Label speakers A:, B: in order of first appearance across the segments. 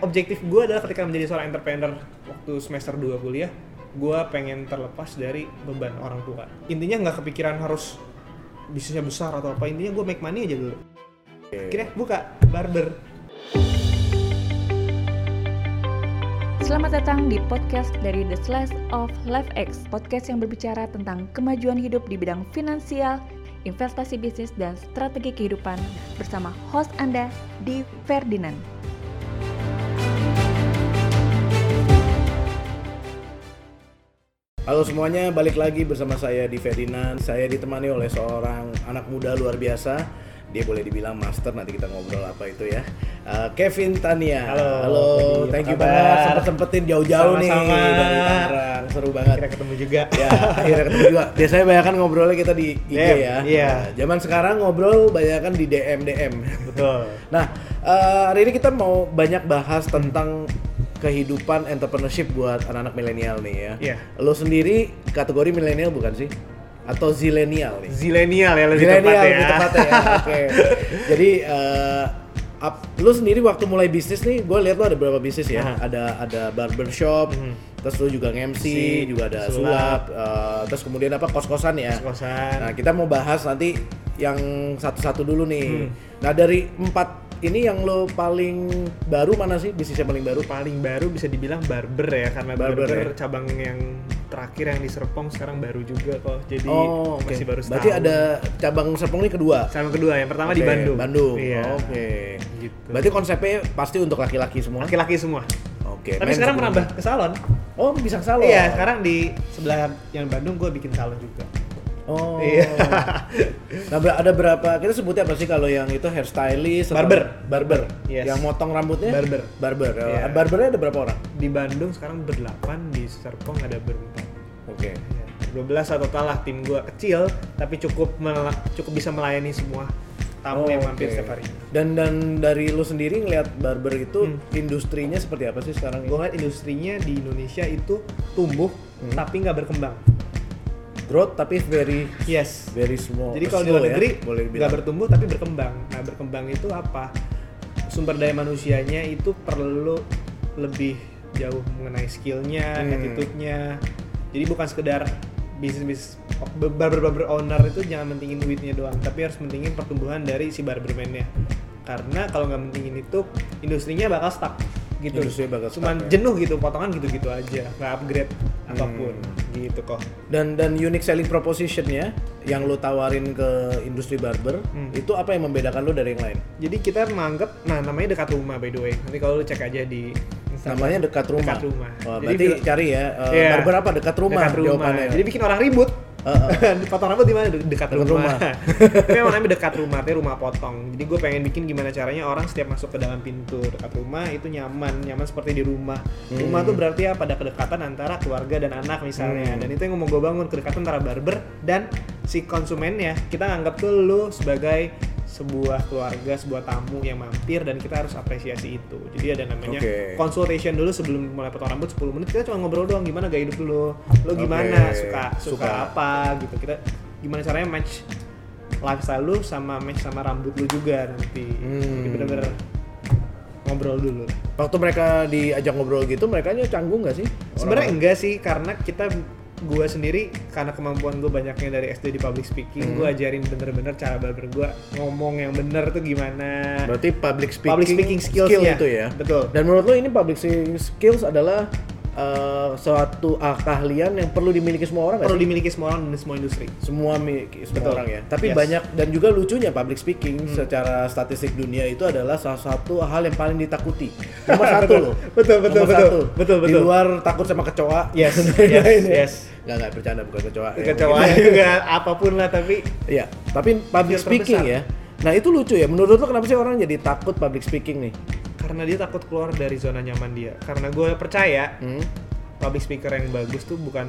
A: objektif gue adalah ketika menjadi seorang entrepreneur waktu semester 2 kuliah, gue pengen terlepas dari beban orang tua. Intinya nggak kepikiran harus bisnisnya besar atau apa. Intinya gue make money aja dulu. Akhirnya buka barber.
B: Selamat datang di podcast dari The Slice of Life X, podcast yang berbicara tentang kemajuan hidup di bidang finansial, investasi bisnis, dan strategi kehidupan bersama host Anda, di Ferdinand.
C: Halo semuanya, balik lagi bersama saya di Ferdinand. Saya ditemani oleh seorang anak muda luar biasa. Dia boleh dibilang master, nanti kita ngobrol apa itu ya. Eh, Kevin Tania.
A: Halo.
C: Halo,
A: Apa
C: thank you
A: kabar?
C: banget sempet-sempetin jauh-jauh nih
A: Sama-sama.
C: dari Tangerang. Seru banget.
A: Akhirnya ketemu juga.
C: Ya, akhirnya ketemu juga. Biasanya banyak kan ngobrolnya kita di IG
A: DM,
C: ya.
A: iya.
C: Nah, Zaman sekarang ngobrol banyak kan di DM DM.
A: Betul.
C: Nah, eh, hari ini kita mau banyak bahas tentang kehidupan entrepreneurship buat anak-anak milenial nih ya.
A: Iya.
C: Lo sendiri kategori milenial bukan sih? Atau zilenial nih?
A: Zilenial ya lebih
C: Milenial
A: tepat ya.
C: lebih tepatnya ya. Oke. Jadi eh, ap- lo sendiri waktu mulai bisnis nih, gue lihat lo ada berapa bisnis ya?
A: Aha.
C: Ada ada barbershop,
A: Mhm.
C: terus lo juga MC,
A: Si,
C: juga
A: sulap.
C: ada sulap, eh, terus kemudian apa kos-kosan ya?
A: Kos-kosan.
C: Nah, kita mau bahas nanti yang satu-satu dulu nih.
A: Hmm.
C: Nah, dari empat ini yang lo paling baru mana sih bisnisnya paling baru?
A: paling baru bisa dibilang barber ya karena barber,
C: Barber ya.
A: cabang yang terakhir yang di Serpong sekarang baru juga kok jadi
C: Oh, oke.
A: masih baru setahun.
C: Berarti ada cabang Serpong ini kedua.
A: sama kedua yang pertama di
C: Oke,
A: Bandung.
C: Bandung. Oh.
A: Iya.
C: Oke.
A: Gitu.
C: Berarti konsepnya pasti untuk laki-laki semua.
A: Laki-laki semua.
C: Oke.
A: Tapi
C: men
A: sekarang
C: sebelumnya.
A: merambah ke salon.
C: Oh, bisa ke salon.
A: Iya, sekarang di sebelah yang Bandung gue bikin salon juga.
C: Oh.
A: Iya.
C: nah, ber- ada berapa? Kita sebutnya apa sih kalau yang itu hairstylist atau-
A: Barber.
C: barber.
A: Yes.
C: Yang motong rambutnya?
A: Barber.
C: Barber. Oh,
A: Iya.
C: Barbernya ada berapa orang?
A: Di Bandung sekarang berdelapan, di Serpong ada berempat.
C: Oke.
A: Ya, 12 lah total lah tim gue kecil tapi cukup mel- cukup bisa melayani semua tamu
C: Oh,
A: yang mampir
C: oke.
A: setiap hari.
C: Dan dan dari lu sendiri ngelihat barber itu
A: Hmm.
C: industrinya seperti apa sih sekarang?
A: Gue ngeliat industrinya di Indonesia itu tumbuh
C: Hmm.
A: tapi nggak berkembang.
C: Growth tapi very
A: Yes.
C: very small.
A: Jadi kalau di
C: slow
A: luar
C: ya,
A: negeri
C: boleh
A: nggak
C: dibilang.
A: bertumbuh tapi berkembang. Nah berkembang itu apa? Sumber daya manusianya itu perlu lebih jauh mengenai skillnya,
C: Hmm.
A: attitude-nya. Jadi bukan sekedar bisnis bisnis barber barber owner itu jangan mentingin duitnya doang, tapi harus mentingin pertumbuhan dari si barberman-nya. Karena kalau nggak mentingin itu industrinya bakal stuck gitu.
C: Industrinya bakal
A: Cuman
C: stuck, ya. Hmm.
A: jenuh gitu potongan gitu-gitu aja, nggak upgrade apapun gitu kok.
C: dan dan unique selling propositionnya yang lu tawarin ke industri barber
A: Hmm.
C: itu apa yang membedakan lu dari yang lain?
A: Jadi kita menganggap, nah namanya dekat rumah by the way. Nanti kalau lu cek aja di Instagram.
C: Namanya dekat rumah.
A: Dekat rumah.
C: Oh,
A: Jadi
C: berarti
A: fil-
C: cari ya. eh,
A: Iya.
C: Barber apa dekat rumah,
A: Dekat rumah.
C: jawabannya.
A: Jadi bikin orang ribut.
C: Heeh.
A: potong rambut di mana? De- Dekat,
C: Dekat
A: rumah.
C: rumah.
A: Tapi emang namanya dekat rumah, artinya rumah potong. Jadi gue pengen bikin gimana caranya orang setiap masuk ke dalam pintu dekat rumah itu nyaman, nyaman seperti di rumah.
C: Hmm.
A: Rumah tuh berarti apa? Ada kedekatan antara keluarga dan anak misalnya.
C: Hmm.
A: Dan itu yang mau gue bangun kedekatan antara barber dan si konsumennya. Kita anggap tuh lu sebagai sebuah keluarga, sebuah tamu yang mampir dan kita harus apresiasi itu. Jadi ada namanya
C: Oke.
A: consultation dulu sebelum mulai potong rambut 10 menit kita cuma ngobrol doang gimana gaya hidup lu lo
C: Oke.
A: gimana suka, suka
C: Suka.
A: apa gitu kita gimana caranya match lifestyle lu sama match sama rambut lu juga nanti jadi
C: Hmm.
A: bener-bener ngobrol dulu
C: Waktu mereka diajak ngobrol gitu, mereka canggung nggak sih?
A: sebenarnya enggak sih karena kita gua sendiri karena kemampuan gue banyaknya dari SD di public
C: Hmm.
A: speaking gua ajarin bener-bener cara barber gua ngomong yang bener tuh gimana
C: Berarti public speaking,
A: Public speaking skills
C: skill
A: ya.
C: itu ya.
A: Betul.
C: Dan menurut lo ini public speaking skills adalah eh, suatu ah, keahlian yang perlu dimiliki semua orang nggak
A: perlu
C: sih?
A: dimiliki semua orang dan semua industri
C: semua miliki semua
A: Betul.
C: orang ya. Tapi
A: Yes. Hmm.
C: banyak dan juga lucunya public speaking secara statistik dunia itu adalah salah satu hal yang paling ditakuti. Nomor satu
A: Betul.
C: loh.
A: Betul, betul,
C: Nomor
A: betul.
C: satu.
A: Betul,
C: Di
A: betul.
C: luar takut sama kecoa.
A: Yes,
C: dan lain-lain
A: yes,
C: ya.
A: yes.
C: Nggak, nggak, bercanda bukan kecoa. Ya,
A: kecewaan
C: mungkin.
A: Iya juga apapun lah tapi
C: Iya, tapi public
A: Filter
C: speaking
A: besar.
C: ya. Nah, itu lucu ya. Menurut lo kenapa sih orang jadi takut public speaking nih?
A: karena dia takut keluar dari zona nyaman dia karena gue percaya
C: Hmm?
A: public speaker yang bagus tuh bukan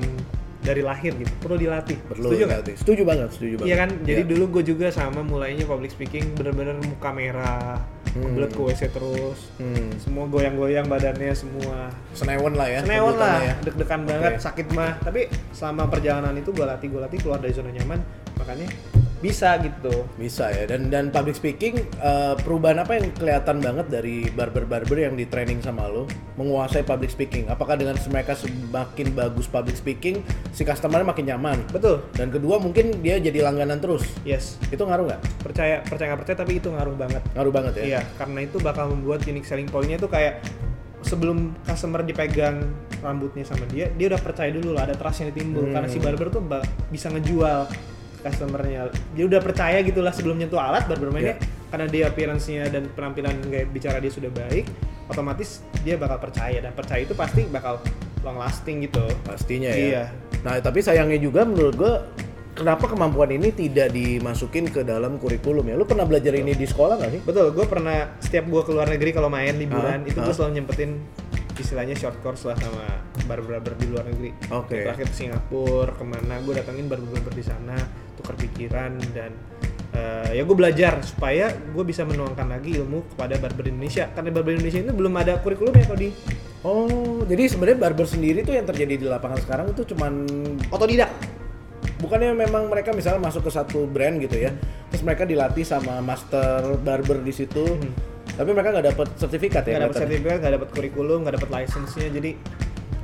A: dari lahir gitu perlu dilatih
C: Perlu
A: setuju nggak?
C: dilatih. Setuju banget, setuju banget.
A: Iya kan, jadi
C: Iya.
A: dulu gue juga sama mulainya public speaking bener-bener muka merah,
C: Hmm.
A: kebelet ke WC terus,
C: Hmm.
A: semua goyang-goyang badannya semua.
C: Senewon lah ya.
A: Senewon lah,
C: sebutannya ya.
A: deg-degan
C: Oke.
A: banget, sakit mah. Tapi selama perjalanan itu gue latih, gue latih keluar dari zona nyaman, makanya bisa gitu
C: Bisa ya. Dan dan public speaking eh, perubahan apa yang kelihatan banget dari barber-barber yang di training sama lo menguasai public speaking? Apakah dengan mereka semakin bagus public speaking, si customer makin nyaman?
A: betul
C: Dan kedua mungkin dia jadi langganan terus.
A: yes
C: Itu ngaruh nggak?
A: percaya percaya nggak percaya tapi itu ngaruh banget
C: Ngaruh banget ya.
A: Iya, karena itu bakal membuat unique selling point-nya itu kayak sebelum customer dipegang rambutnya sama dia, dia udah percaya dulu lah ada trust yang ditimbul
C: Hmm.
A: karena si barber tuh ba- bisa ngejual customernya. Dia udah percaya gitulah sebelum nyentuh alat baru bermainnya
C: Iya.
A: karena dia appearance-nya dan penampilan gaya bicara dia sudah baik, otomatis dia bakal percaya dan percaya itu pasti bakal long lasting gitu.
C: Pastinya ya.
A: Iya.
C: Nah, tapi sayangnya juga menurut gue kenapa kemampuan ini tidak dimasukin ke dalam kurikulum ya? Lu pernah belajar ini di sekolah nggak sih?
A: Betul, gue pernah setiap gue keluar negeri kalau main liburan
C: Hah?
A: itu gue
C: Hah?
A: selalu nyempetin istilahnya short course lah sama barber-barber di luar negeri.
C: Oke.
A: Kayak Terakhir ke Singapura, kemana gue datengin barber-barber di sana, tukar pikiran dan eh, ya gue belajar supaya gue bisa menuangkan lagi ilmu kepada barber Indonesia karena barber Indonesia itu belum ada ya, kurikulumnya kalau di
C: Oh, jadi sebenarnya barber sendiri tuh yang terjadi di lapangan sekarang itu cuman
A: otodidak.
C: bukannya memang mereka misalnya masuk ke satu brand gitu ya terus mereka dilatih sama master barber di situ
A: Hmm.
C: tapi mereka nggak dapat sertifikat
A: Gak
C: ya
A: dapat
C: kelihatannya?
A: sertifikat, gak dapat kurikulum, gak dapat license-nya jadi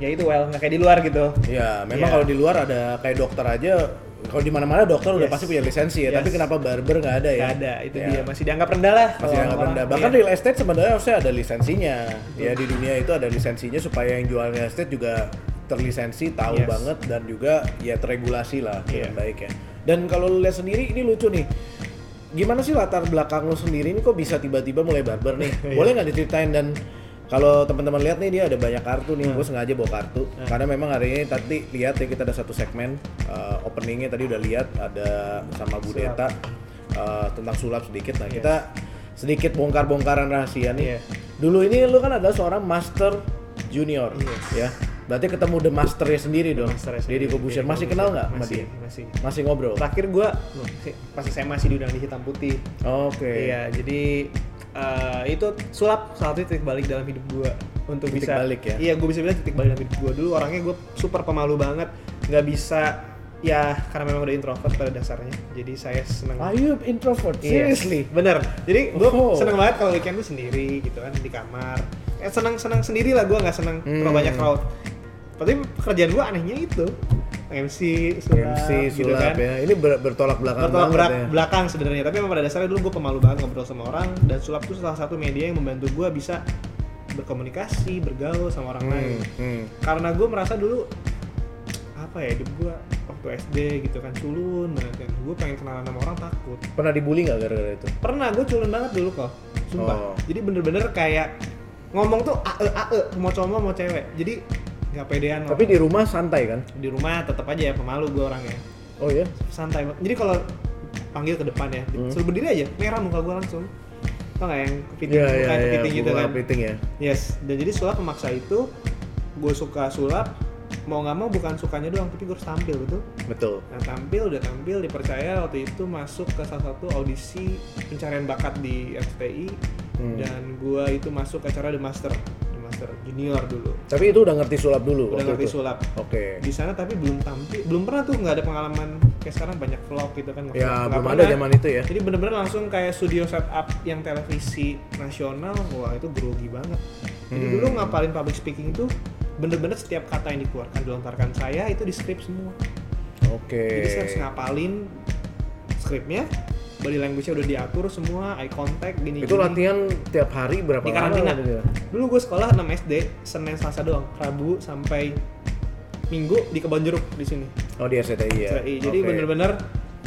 A: ya itu well nggak kayak di luar gitu.
C: ya memang
A: Iya.
C: kalau di luar ada kayak dokter aja kalau di mana-mana dokter udah
A: Yes.
C: pasti punya lisensi ya
A: Yes.
C: tapi kenapa barber nggak ada ya
A: Gak ada, itu
C: Ya.
A: dia masih dianggap rendah lah.
C: masih
A: kalau
C: dianggap
A: orang-orang.
C: rendah bahkan
A: Iya.
C: real estate sebenarnya harusnya ada lisensinya ya di dunia itu ada lisensinya supaya yang jual real estate juga terlisensi tahu
A: Yes.
C: banget dan juga ya teregulasi lah dengan
A: Iya.
C: baik ya dan kalau lu lihat sendiri ini lucu nih gimana sih latar belakang lu sendiri ini kok bisa tiba-tiba mulai barber nih
A: Iya.
C: boleh nggak diceritain dan kalau teman-teman lihat nih dia ada banyak kartu
A: Iya.
C: nih, gue sengaja bawa kartu karena memang hari ini tadi lihat ya kita ada satu segmen uh, openingnya tadi udah lihat ada sama Bu
A: Sulap.
C: Deta uh, tentang sulap sedikit. Nah kita sedikit bongkar-bongkaran rahasia
A: Iya.
C: nih. Dulu ini lu kan adalah seorang master junior,
A: Yes.
C: ya. Berarti ketemu the masternya sendiri dong.
A: Masternya
C: Deddy
A: sendiri,
C: Kobusher
A: Deddy
C: masih
A: Corbuzier.
C: kenal nggak sama
A: Masih,
C: dia?
A: masih.
C: Masih ngobrol. Oke.
A: Terakhir gua si- pas saya masih diundang di hitam putih. Iya, jadi eh, itu sulap salah satu titik balik dalam hidup gua untuk
C: Titik
A: bisa
C: balik ya?
A: Iya, gue bisa bilang titik balik dalam hidup gua. Dulu orangnya gue super pemalu banget, nggak bisa ya karena memang udah introvert pada dasarnya. Jadi saya seneng
C: Are you introvert?
A: Iya,
C: Seriously?
A: bener. Jadi gue
C: Oh.
A: seneng banget kalau weekend gue sendiri gitu kan di kamar. Eh, seneng seneng sendiri lah gue nggak seneng
C: Hmm.
A: terlalu banyak crowd. Tapi pekerjaan gue anehnya itu MC sulap,
C: MC
A: gitu
C: sulap
A: kan.
C: ya. Ini ber- bertolak belakang
A: Bertolak
C: banget
A: berak-
C: ya.
A: belakang sebenarnya. Tapi emang pada dasarnya dulu gue pemalu banget ngobrol sama orang dan sulap tuh salah satu media yang membantu gue bisa berkomunikasi, bergaul sama orang lain.
C: Hmm, hmm.
A: Karena gue merasa dulu apa ya hidup gue waktu SD gitu kan culun banget kan. Gue pengen kenalan sama orang takut
C: Pernah dibully nggak gara-gara itu?
A: pernah gue culun banget dulu kok sumpah
C: Oh.
A: jadi bener-bener kayak ngomong tuh ae ae mau cowok mau cewek jadi nggak pedean
C: Tapi di rumah santai kan?
A: di rumah tetap aja ya pemalu gue orangnya
C: Oh
A: iya?
C: ya.
A: santai banget jadi kalau panggil ke depan ya
C: Hmm.
A: suruh berdiri aja merah muka gue langsung tau nggak yang kepiting
C: Iya
A: mukanya
C: iya iya.
A: kepiting gitu
C: bunga
A: kan
C: Kepiting ya.
A: yes dan jadi sulap memaksa itu gue suka sulap mau nggak mau bukan sukanya doang tapi gue harus tampil betul
C: Betul.
A: Nah tampil udah tampil dipercaya waktu itu masuk ke salah satu audisi pencarian bakat di FTI
C: Hmm.
A: dan gua itu masuk ke acara The Master, The Master Junior dulu.
C: Tapi itu udah ngerti sulap dulu
A: Udah
C: waktu
A: ngerti
C: itu?
A: sulap.
C: Oke.
A: Di sana tapi belum tampil, belum pernah tuh nggak ada pengalaman kayak sekarang banyak vlog gitu kan. nge-vlog. Nggak
C: Ya belum ada
A: pernah.
C: zaman itu ya.
A: Jadi bener-bener langsung kayak studio setup yang televisi nasional, wah itu grogi banget. Jadi
C: Hmm.
A: dulu ngapalin public speaking itu bener-bener setiap kata yang dikeluarkan dilontarkan saya itu di script semua.
C: Oke.
A: Jadi saya harus ngapalin skripnya, body language-nya udah diatur semua, eye contact gini.
C: Itu latihan tiap hari berapa
A: Di
C: lama gitu?
A: karantina.
C: waktu itu?
A: Dulu gue sekolah 6 SD, Senin Selasa doang, Rabu sampai Minggu di Kebon Jeruk di sini.
C: Oh di SCTI ya.
A: SRI. Jadi
C: Oke.
A: bener-bener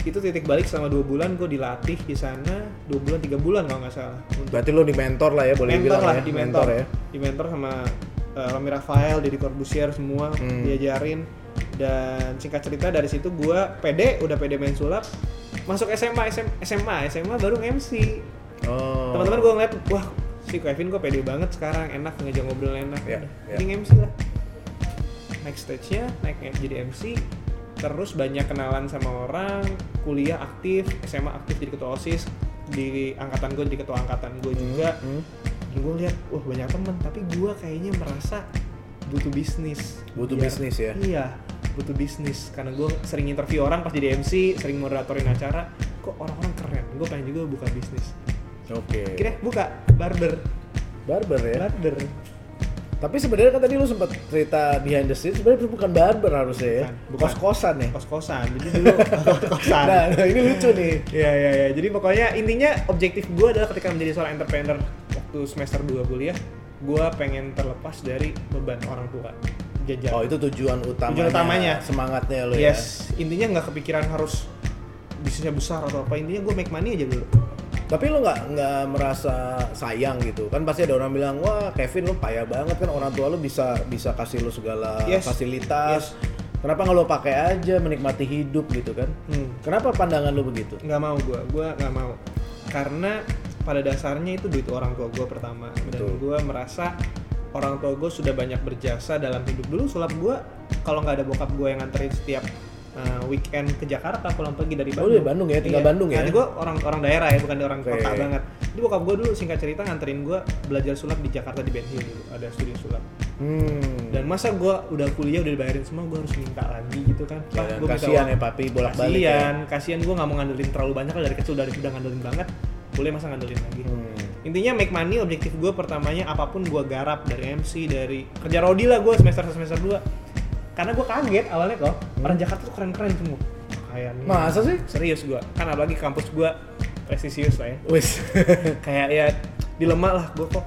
A: itu titik balik selama dua bulan gue dilatih di sana dua bulan tiga bulan kalau nggak salah untuk
C: Berarti lo di mentor lah ya
A: mentor
C: boleh dibilang
A: lah
C: ya.
A: di mentor,
C: ya.
A: di mentor sama eh, Romi Rafael, Deddy Corbusier semua
C: Hmm.
A: diajarin dan singkat cerita dari situ gua pede udah pede main sulap masuk SMA SM, SMA SMA baru MC
C: Oh.
A: teman-teman gua ngeliat wah si Kevin kok pede banget sekarang enak ngejak ngobrol enak
C: Ya, ya.
A: ini MC lah next stage-nya naik jadi MC terus banyak kenalan sama orang kuliah aktif SMA aktif jadi ketua osis di angkatan gue jadi ketua angkatan gue juga
C: Hmm.
A: dan gue lihat wah banyak temen tapi gue kayaknya merasa butuh bisnis Iya,
C: Butuh
A: Biar-
C: bisnis ya.
A: iya butuh bisnis karena gue sering interview orang pas jadi MC sering moderatorin acara kok orang-orang keren gue pengen juga buka bisnis
C: Oke.
A: akhirnya buka barber
C: Barber ya.
A: barber
C: Tapi sebenarnya kan tadi lu sempat cerita behind the scenes sebenarnya itu bukan barber harusnya ya.
A: Bukan, bukan.
C: Kos-kosan ya.
A: kos kosan jadi dulu kos kosan
C: Nah, nah, ini lucu nih.
A: Iya iya iya. Jadi pokoknya intinya objektif gue adalah ketika menjadi seorang entrepreneur waktu semester 2 kuliah, gue pengen terlepas dari beban orang tua. Jajan.
C: Oh, itu tujuan utamanya.
A: Iya. Tujuan utamanya.
C: Semangatnya lu ya.
A: yes. Intinya nggak kepikiran harus bisnisnya besar atau apa. Intinya gue make money aja dulu.
C: Tapi lu nggak nggak merasa sayang gitu kan pasti ada orang bilang wah Kevin lu payah banget kan orang tua lu bisa bisa kasih lu segala
A: Yes.
C: fasilitas. Kenapa nggak lu pakai aja menikmati hidup gitu kan?
A: Hmm.
C: Kenapa pandangan lu begitu?
A: Nggak mau gue. Gue nggak mau. Karena pada dasarnya itu duit orang tua gue pertama. Dan
C: Betul.
A: gue merasa orang tua gue sudah banyak berjasa dalam hidup dulu. Sulap gue kalau nggak ada bokap gue yang nganterin setiap uh, weekend ke Jakarta pulang pergi dari
C: Oh,
A: Bandung.
C: lu di Bandung ya, tinggal Bandung ya.
A: gue orang orang daerah ya, bukan orang
C: Oke.
A: kota banget. Jadi bokap gue dulu singkat cerita nganterin gue belajar sulap di Jakarta di Ben Hill dulu, ada studio sulap.
C: Hmm.
A: Dan masa gue udah kuliah udah dibayarin semua, gue harus minta lagi gitu kan. Pak,
C: Dan
A: gua minta
C: kasihan
A: uang.
C: ya papi bolak-balik ya.
A: kasihan, kasihan gue nggak mau ngandelin terlalu banyak lah dari kecil dari udah ngandelin banget. Boleh masa ngandelin lagi.
C: Hmm.
A: Intinya make money objektif gue pertamanya apapun gue garap dari MC dari kerja rodi lah gue semester 1 semester 2 karena gue kaget awalnya kok orang Jakarta tuh keren-keren semua kayak nih,
C: Hmm. Masa sih?
A: serius gue kan apalagi kampus gue prestisius lah ya
C: Wis.
A: kayak ya dilema lah gue kok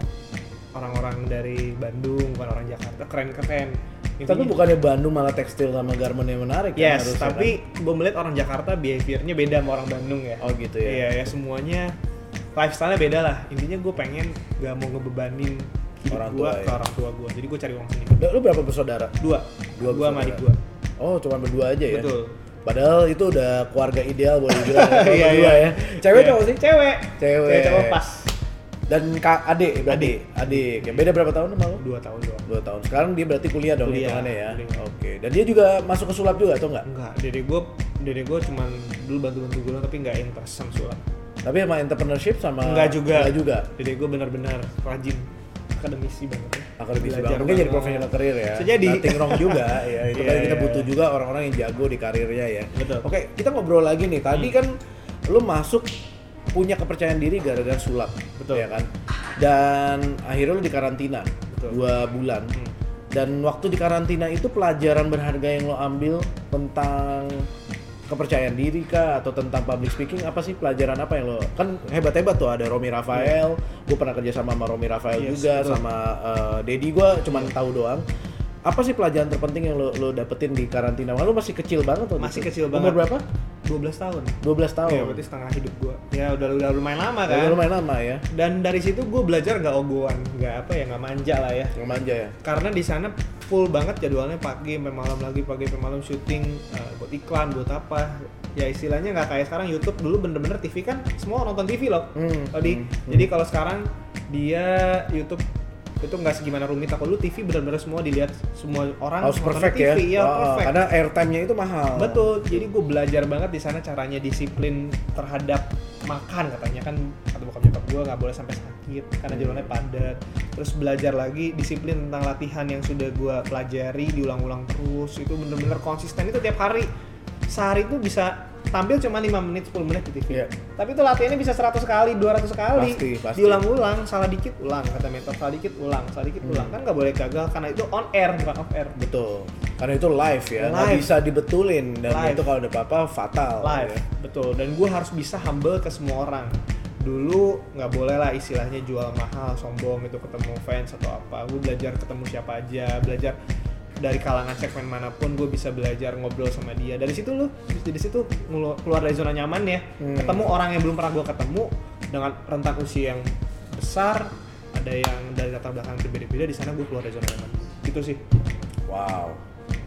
A: orang-orang dari Bandung bukan orang Jakarta keren-keren Intinya-
C: tapi bukannya Bandung malah tekstil sama garment yang menarik kan
A: yes
C: harusnya
A: tapi gue melihat orang Jakarta behaviornya beda sama orang Bandung ya
C: kan? Oh gitu ya.
A: Iya ya semuanya lifestyle-nya beda lah. Intinya gue pengen gak mau ngebebanin hidup
C: Orang
A: gue
C: tua,
A: ke
C: ya.
A: orang tua gue. Jadi gue cari uang sendiri.
C: kan? Lu- Lu berapa bersaudara?
A: Dua,
C: Dua ya.
A: gue sama
C: bersaudara.
A: adik gue.
C: Oh, cuma berdua aja ya.
A: Betul.
C: Padahal itu udah keluarga ideal boleh dibilang. ya, kalau
A: Iya, iya.
C: berdua ya. Cewek
A: Iya.
C: cowok sih?
A: Cewek.
C: Cewek.
A: Cewek pas.
C: Dan kak adik berarti. Adik. Ya, beda berapa tahun sama lu?
A: Dua tahun doang.
C: Dua tahun. Sekarang dia berarti kuliah dong
A: Kuliah,
C: hitungannya ya.
A: kuliah. Hmm.
C: Oke. Dan dia juga masuk ke sulap juga atau enggak?
A: Enggak, dede gue dede gue cuman dulu bantu-bantu gue tapi nggak interest sama sulap.
C: Tapi sama entrepreneurship sama
A: Enggak juga.
C: Enggak juga.
A: Dede gue benar-benar rajin akademisi banget. ya.
C: Akademisi
A: Belajar
C: banget. Mungkin jadi
A: banget.
C: profesional karir ya.
A: Sejadi.
C: Nothing wrong juga ya. Itu
A: Iya,
C: kan kita
A: iya,
C: butuh
A: iya.
C: juga orang-orang yang jago di karirnya ya.
A: Betul. Hmm.
C: Oke, kita ngobrol lagi nih. Tadi kan lu masuk punya kepercayaan diri gara-gara sulap.
A: Betul.
C: Ya kan? Dan akhirnya lu di karantina
A: Betul.
C: dua bulan.
A: Hmm.
C: Dan waktu di karantina itu pelajaran berharga yang lo ambil tentang kepercayaan diri kah atau tentang public speaking apa sih pelajaran apa yang lo kan hebat-hebat tuh ada Romi Rafael,
A: Hmm.
C: gue pernah kerja sama sama Romi Rafael
A: Yes,
C: juga
A: betul.
C: sama eh, Dedi gue cuman tahu doang. Apa sih pelajaran terpenting yang lo, lo dapetin di karantina? Lo masih kecil banget waktu
A: Masih
C: itu.
A: kecil
C: Umur
A: banget.
C: berapa?
A: 12 tahun.
C: 12 tahun.
A: Iya, berarti setengah hidup gue. Ya udah udah lumayan lama kan.
C: Udah lumayan lama ya.
A: dan dari situ gue belajar nggak ogohan nggak apa ya nggak manja lah ya
C: Yang manja ya.
A: karena di sana full banget jadwalnya pagi sampai malam lagi pagi sampai malam syuting eh, buat iklan buat apa ya istilahnya nggak kayak sekarang YouTube dulu bener-bener TV kan semua nonton TV loh
C: Hmm,
A: tadi jadi kalau sekarang dia YouTube itu nggak segimana rumit aku dulu TV bener-bener semua dilihat semua orang
C: Harus
A: nonton
C: perfect ya.
A: TV ya,
C: Oh,
A: perfect
C: Karena airtime-nya itu mahal.
A: Betul, jadi gue belajar banget di sana caranya disiplin terhadap makan katanya kan kata bokap nyokap gue nggak boleh sampai sakit karena
C: Hmm.
A: jadwalnya padat. Terus belajar lagi disiplin tentang latihan yang sudah gue pelajari diulang-ulang terus itu bener-bener konsisten itu tiap hari sehari itu bisa tampil cuma 5 menit 10 menit di TV.
C: Iya.
A: Tapi itu latihannya bisa 100 kali, 200 kali.
C: Pasti, pasti.
A: Diulang-ulang, salah dikit ulang kata mentor, salah dikit ulang, salah
C: Hmm.
A: dikit ulang. Kan nggak boleh gagal karena itu on air bukan off air.
C: Betul. Karena itu live ya, nggak
A: Live.
C: bisa dibetulin dan
A: Live.
C: itu kalau ada apa-apa fatal.
A: live
C: ya.
A: betul dan gue harus bisa humble ke semua orang dulu nggak boleh lah istilahnya jual mahal sombong itu ketemu fans atau apa gue belajar ketemu siapa aja belajar dari kalangan segmen manapun gue bisa belajar ngobrol sama dia dari situ lu dari situ ngelu- keluar dari zona nyaman ya
C: Hmm.
A: ketemu orang yang belum pernah gue ketemu dengan rentan usia yang besar ada yang dari latar belakang berbeda-beda di sana gue keluar dari zona nyaman itu sih
C: Wow.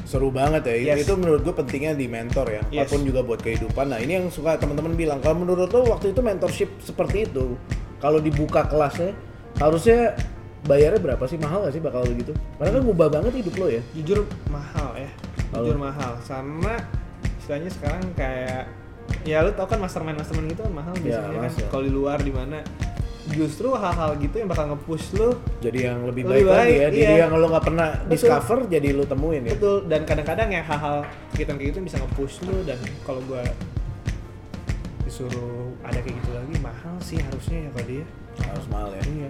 C: Seru banget ya. Itu-
A: Yes.
C: Itu menurut gue pentingnya di mentor ya.
A: Yes.
C: Apapun juga buat kehidupan. Nah, ini yang suka teman-teman bilang, kalau menurut lo waktu itu mentorship seperti itu, kalau dibuka kelasnya harusnya bayarnya berapa sih? Mahal gak sih bakal begitu? Karena kan ngubah banget hidup lo ya.
A: jujur mahal ya jujur mahal sama istilahnya sekarang kayak ya lu tau kan mastermind mastermind gitu kan mahal
C: Ya,
A: biasanya kan
C: mahal.
A: kalau di luar di mana justru hal-hal gitu yang bakal nge-push lu
C: Jadi yang lebih
A: Lebih
C: baik, lagi
A: baik,
C: ya. Jadi
A: iya.
C: yang lo nggak pernah
A: Betul.
C: discover jadi lo temuin ya.
A: betul dan kadang-kadang ya hal-hal kegiatan kayak gitu yang bisa nge-push lu dan kalau gua disuruh ada kayak gitu lagi mahal sih harusnya ya kalau dia
C: harus mahal ya
A: iya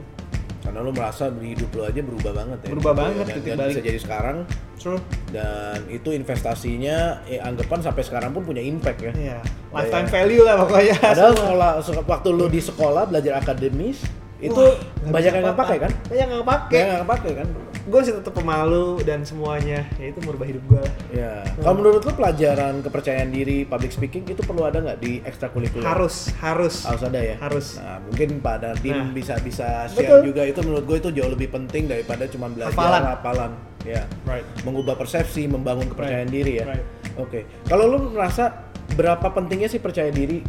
C: karena lu merasa hidup lu aja berubah banget ya
A: Berubah
C: Gitu ya.
A: banget,
C: Dan-
A: titik
C: dan
A: balik.
C: bisa jadi sekarang
A: true
C: dan itu investasinya eh, anggapan sampai sekarang pun punya impact ya
A: iya lifetime value lah pokoknya
C: Padahal sekolah, se- waktu lu di sekolah belajar akademis itu
A: Nggak
C: banyak
A: bisa
C: yang nggak
A: apa-apa.
C: pakai kan?
A: banyak yang nggak pakai
C: Banyak yang nggak pakai kan?
A: gue sih tetap pemalu dan semuanya ya itu merubah hidup gue
C: Ya.
A: Hmm.
C: Kalau menurut lu pelajaran kepercayaan diri, public speaking itu perlu ada nggak di ekstrakurikuler?
A: harus harus
C: Iya. Harus ada ya.
A: Harus.
C: Nah, mungkin Pak Dardim
A: Nah.
C: bisa bisa share
A: Betul.
C: juga itu menurut gue itu jauh lebih penting daripada cuma belajar
A: Hafalan.
C: hafalan. Ya.
A: right
C: Mengubah persepsi, membangun kepercayaan
A: Right.
C: diri ya.
A: Right.
C: Oke. Kalau lu merasa berapa pentingnya sih percaya diri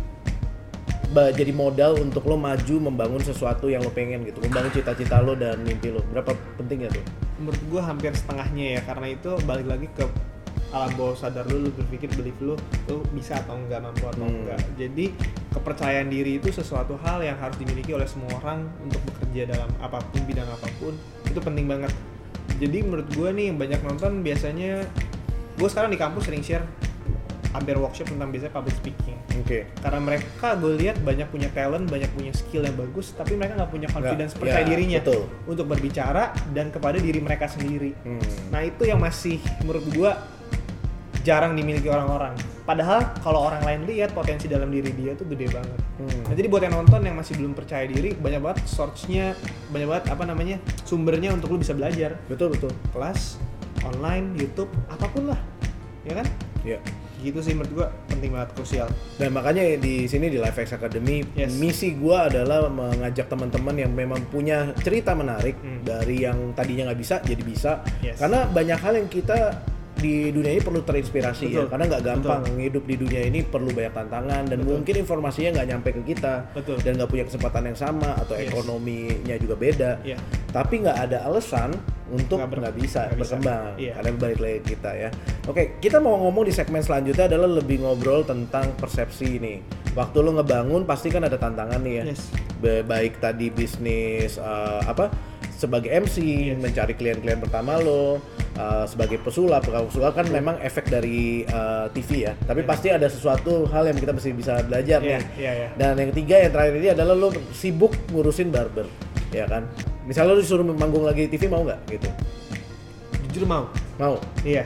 C: ba- jadi modal untuk lo maju membangun sesuatu yang lo pengen gitu membangun cita-cita lo dan mimpi lo berapa pentingnya tuh
A: menurut gue hampir setengahnya ya karena itu balik lagi ke alam bawah sadar lu, lu berpikir belief lu, lu bisa atau enggak, mampu atau
C: Hmm.
A: enggak. Jadi kepercayaan diri itu sesuatu hal yang harus dimiliki oleh semua orang untuk bekerja dalam apapun bidang apapun itu penting banget. Jadi menurut gue nih yang banyak nonton biasanya gue sekarang di kampus sering share hampir workshop tentang biasanya public speaking
C: oke
A: karena mereka gue lihat banyak punya talent banyak punya skill yang bagus tapi mereka nggak punya confidence
C: Nggak,
A: percaya
C: ya,
A: dirinya
C: betul.
A: untuk berbicara dan kepada diri mereka sendiri
C: Hmm.
A: nah itu yang masih menurut gue jarang dimiliki orang-orang padahal kalau orang lain lihat potensi dalam diri dia tuh gede banget
C: Hmm.
A: nah jadi buat yang nonton yang masih belum percaya diri banyak banget source-nya banyak banget apa namanya sumbernya untuk lu bisa belajar
C: betul betul
A: kelas online YouTube apapun lah ya kan
C: ya
A: gitu sih menurut gue penting banget krusial
C: dan makanya di sini di LifeX Academy
A: Yes.
C: misi gua adalah mengajak teman-teman yang memang punya cerita menarik
A: Hmm.
C: dari yang tadinya nggak bisa jadi bisa
A: Yes.
C: karena banyak hal yang kita di dunia ini perlu terinspirasi ya
A: Betul.
C: karena nggak gampang
A: Betul.
C: hidup di dunia ini perlu banyak tantangan dan
A: Betul.
C: mungkin informasinya nggak nyampe ke kita
A: Betul.
C: dan nggak punya kesempatan yang sama atau
A: Yes.
C: ekonominya juga beda
A: Iya.
C: tapi nggak ada alasan untuk
A: Nggak ber-
C: nggak bisa
A: nggak bisa.
C: berkembang
A: Iya.
C: karena balik lagi ke kita ya oke kita mau ngomong di segmen selanjutnya adalah lebih ngobrol tentang persepsi ini waktu lo ngebangun pasti kan ada tantangan nih ya
A: Yes.
C: Ba- baik tadi bisnis eh, apa sebagai MC
A: Yes.
C: mencari klien-klien pertama lo eh, sebagai pesulap kalau pesulap kan memang efek dari eh, TV ya tapi pasti ada sesuatu hal yang kita mesti bisa belajar
A: Iya,
C: nih
A: iya, iya.
C: dan yang ketiga yang terakhir ini adalah lo sibuk ngurusin barber, ya kan? Misalnya lo disuruh manggung lagi di TV mau nggak gitu?
A: jujur mau
C: Mau.
A: iya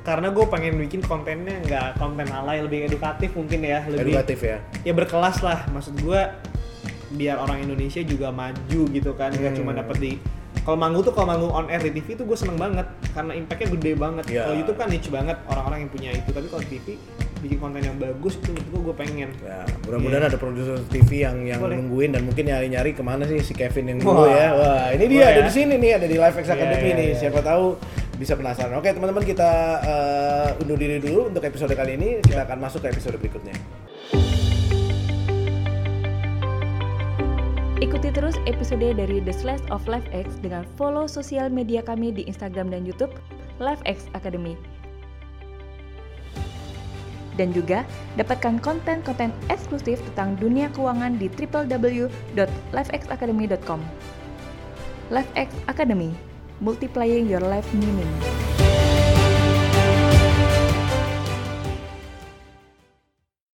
A: karena gue pengen bikin kontennya nggak konten alay lebih edukatif mungkin ya lebih
C: Edukatif ya.
A: ya berkelas lah maksud gue biar orang Indonesia juga maju gitu kan nggak
C: Hmm.
A: cuma dapet di kalau manggung tuh kalau manggung on air di TV tuh gue seneng banget karena impactnya gede banget
C: Ya.
A: kalau YouTube kan niche banget orang-orang yang punya itu tapi kalau TV bikin konten yang bagus itu menurut gue gue pengen
C: Ya, mudah-mudahan ada produser TV yang yang
A: Iya. Boleh.
C: nungguin dan mungkin nyari-nyari kemana sih si Kevin yang
A: Wah.
C: dulu ya. Wah, ini dia
A: Boleh
C: ada
A: ya.
C: di sini nih, ada di Live X
A: Iya,
C: Academy
A: iya,
C: nih.
A: iya.
C: Siapa tahu bisa penasaran. Oke, teman-teman kita eh, undur diri dulu untuk episode kali ini.
A: Iya.
C: Kita akan masuk ke episode berikutnya.
B: Ikuti terus episode dari The Slash of Life X dengan follow sosial media kami di Instagram dan YouTube Life X Academy. Dan juga dapatkan konten-konten eksklusif tentang dunia keuangan di www.lifexacademy.com. Life X Academy, multiplying your life meaning.